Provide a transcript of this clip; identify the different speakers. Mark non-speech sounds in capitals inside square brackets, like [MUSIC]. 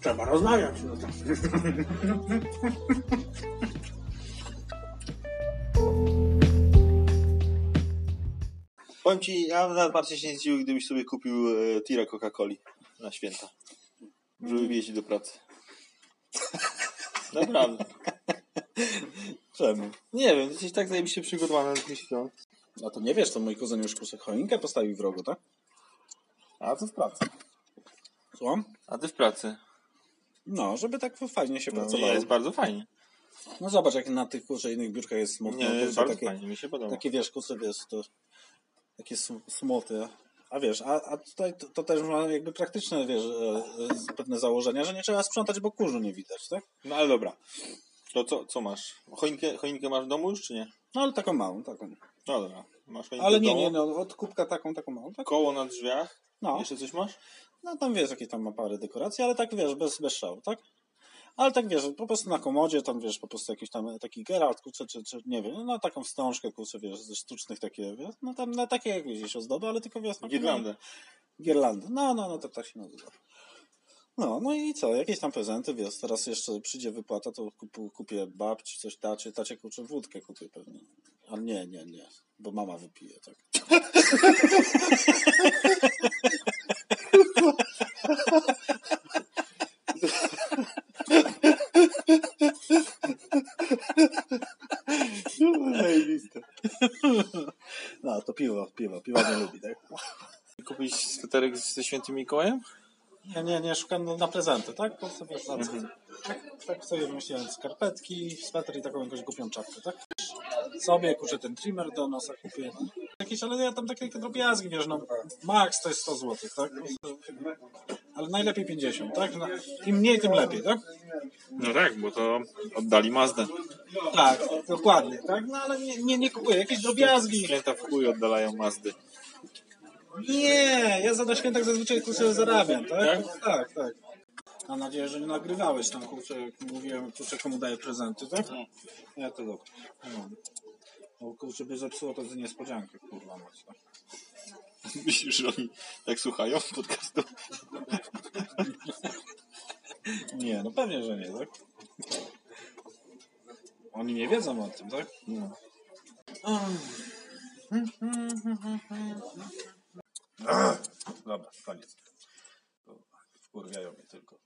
Speaker 1: trzeba rozmawiać. No tak.
Speaker 2: Powiem ci, ja bym nawet bardziej się nie zdziwił, gdybyś sobie kupił e, tira Coca-Coli na święta. Żeby wieźć do pracy. [LAUGHS] Naprawdę.
Speaker 3: no,
Speaker 2: Czemu? Nie wiem, jesteś tak zajebiście przygotowany na ten świąt.
Speaker 3: A no to nie wiesz, to mój kuzyn już kusek choinkę postawił w rogu, tak? A to w pracy. Słucham?
Speaker 2: A ty w pracy.
Speaker 3: No, żeby tak fajnie się
Speaker 2: No,
Speaker 3: pracowało.
Speaker 2: jest bardzo fajnie.
Speaker 3: No zobacz, jak na tych kurczę innych biurkach jest smutno.
Speaker 2: Nie,
Speaker 3: to
Speaker 2: jest
Speaker 3: są
Speaker 2: bardzo
Speaker 3: takie,
Speaker 2: fajnie, mi się podoba.
Speaker 3: takie wiesz, kusy, wiesz, to takie sm- smuty. A wiesz, a, a tutaj to, to też ma jakby praktyczne, wiesz, e, e, pewne założenia, że nie trzeba sprzątać, bo kurzu nie widać, tak?
Speaker 2: No ale dobra. To co, co masz? Choinkę, choinkę masz w domu już, czy nie?
Speaker 3: No ale taką małą, taką.
Speaker 2: No dobra. Masz choinkę
Speaker 3: Ale
Speaker 2: w
Speaker 3: nie,
Speaker 2: domu,
Speaker 3: nie, no, od kubka taką, taką małą, tak?
Speaker 2: koło na drzwiach.
Speaker 3: No.
Speaker 2: Jeszcze coś masz?
Speaker 3: No tam wiesz, jakie tam ma parę dekoracji, ale tak wiesz, bez, bez szału, tak? Ale tak wiesz, po prostu na komodzie, tam wiesz, po prostu jakiś tam taki Geralt, kurczę, czy, czy nie wiem, no taką wstążkę, kurczę, wiesz, ze sztucznych takie, wiesz, no tam na takie jak gdzieś ozdoby, ale tylko wiesz, na komodzie.
Speaker 2: Girlandę.
Speaker 3: Girlandy. No, no, no, to tak się nazywa. No, no i co, jakieś tam prezenty, wiesz, teraz jeszcze przyjdzie wypłata, to kupu, kupię babci coś tacie, tacie kurczę wódkę kupię pewnie. Ale nie, nie, nie, bo mama wypije, tak.
Speaker 2: Zajebiste.
Speaker 3: No, to piwo, piwo, piwo nie lubi, tak?
Speaker 2: Kupić sweterek ze świętym Mikołajem?
Speaker 3: Ja nie, nie szukam na- na prezenty, tak? Po prostu wiesz, na co? Tak, tak sobie wymyśliłem skarpetki, sweter i taką jakąś głupią czapkę, tak? Sobie kuszę ten trimmer do nosa, kupię jakieś, ale ja tam takie takie drobiazgi, wiesz, no max to jest 100 zł, tak? Ale najlepiej 50, tak? No, Im mniej, tym lepiej, tak?
Speaker 2: No tak, bo to oddali Mazdę.
Speaker 3: Tak, dokładnie, tak? No ale nie, nie, nie kupuję, jakieś drobiazgi.
Speaker 2: Klienta w chuj oddalają Mazdy.
Speaker 3: Nie, ja za na świętach zazwyczaj kurczę zarabiam, tak? Tak, tak. Mam nadzieję, że nie nagrywałeś tam kurczę, jak mówiłem, kurczę komu daję prezenty, tak? Ja to dobra. No. Bo kurczę by zepsuło to z niespodzianki, kurwa mać. tak?
Speaker 2: Myślisz, że oni tak słuchają podcastu?
Speaker 3: Nie, no pewnie, że nie, tak? Oni nie wiedzą o tym, tak? No. Dobra, koniec. Wkurwiają mnie tylko.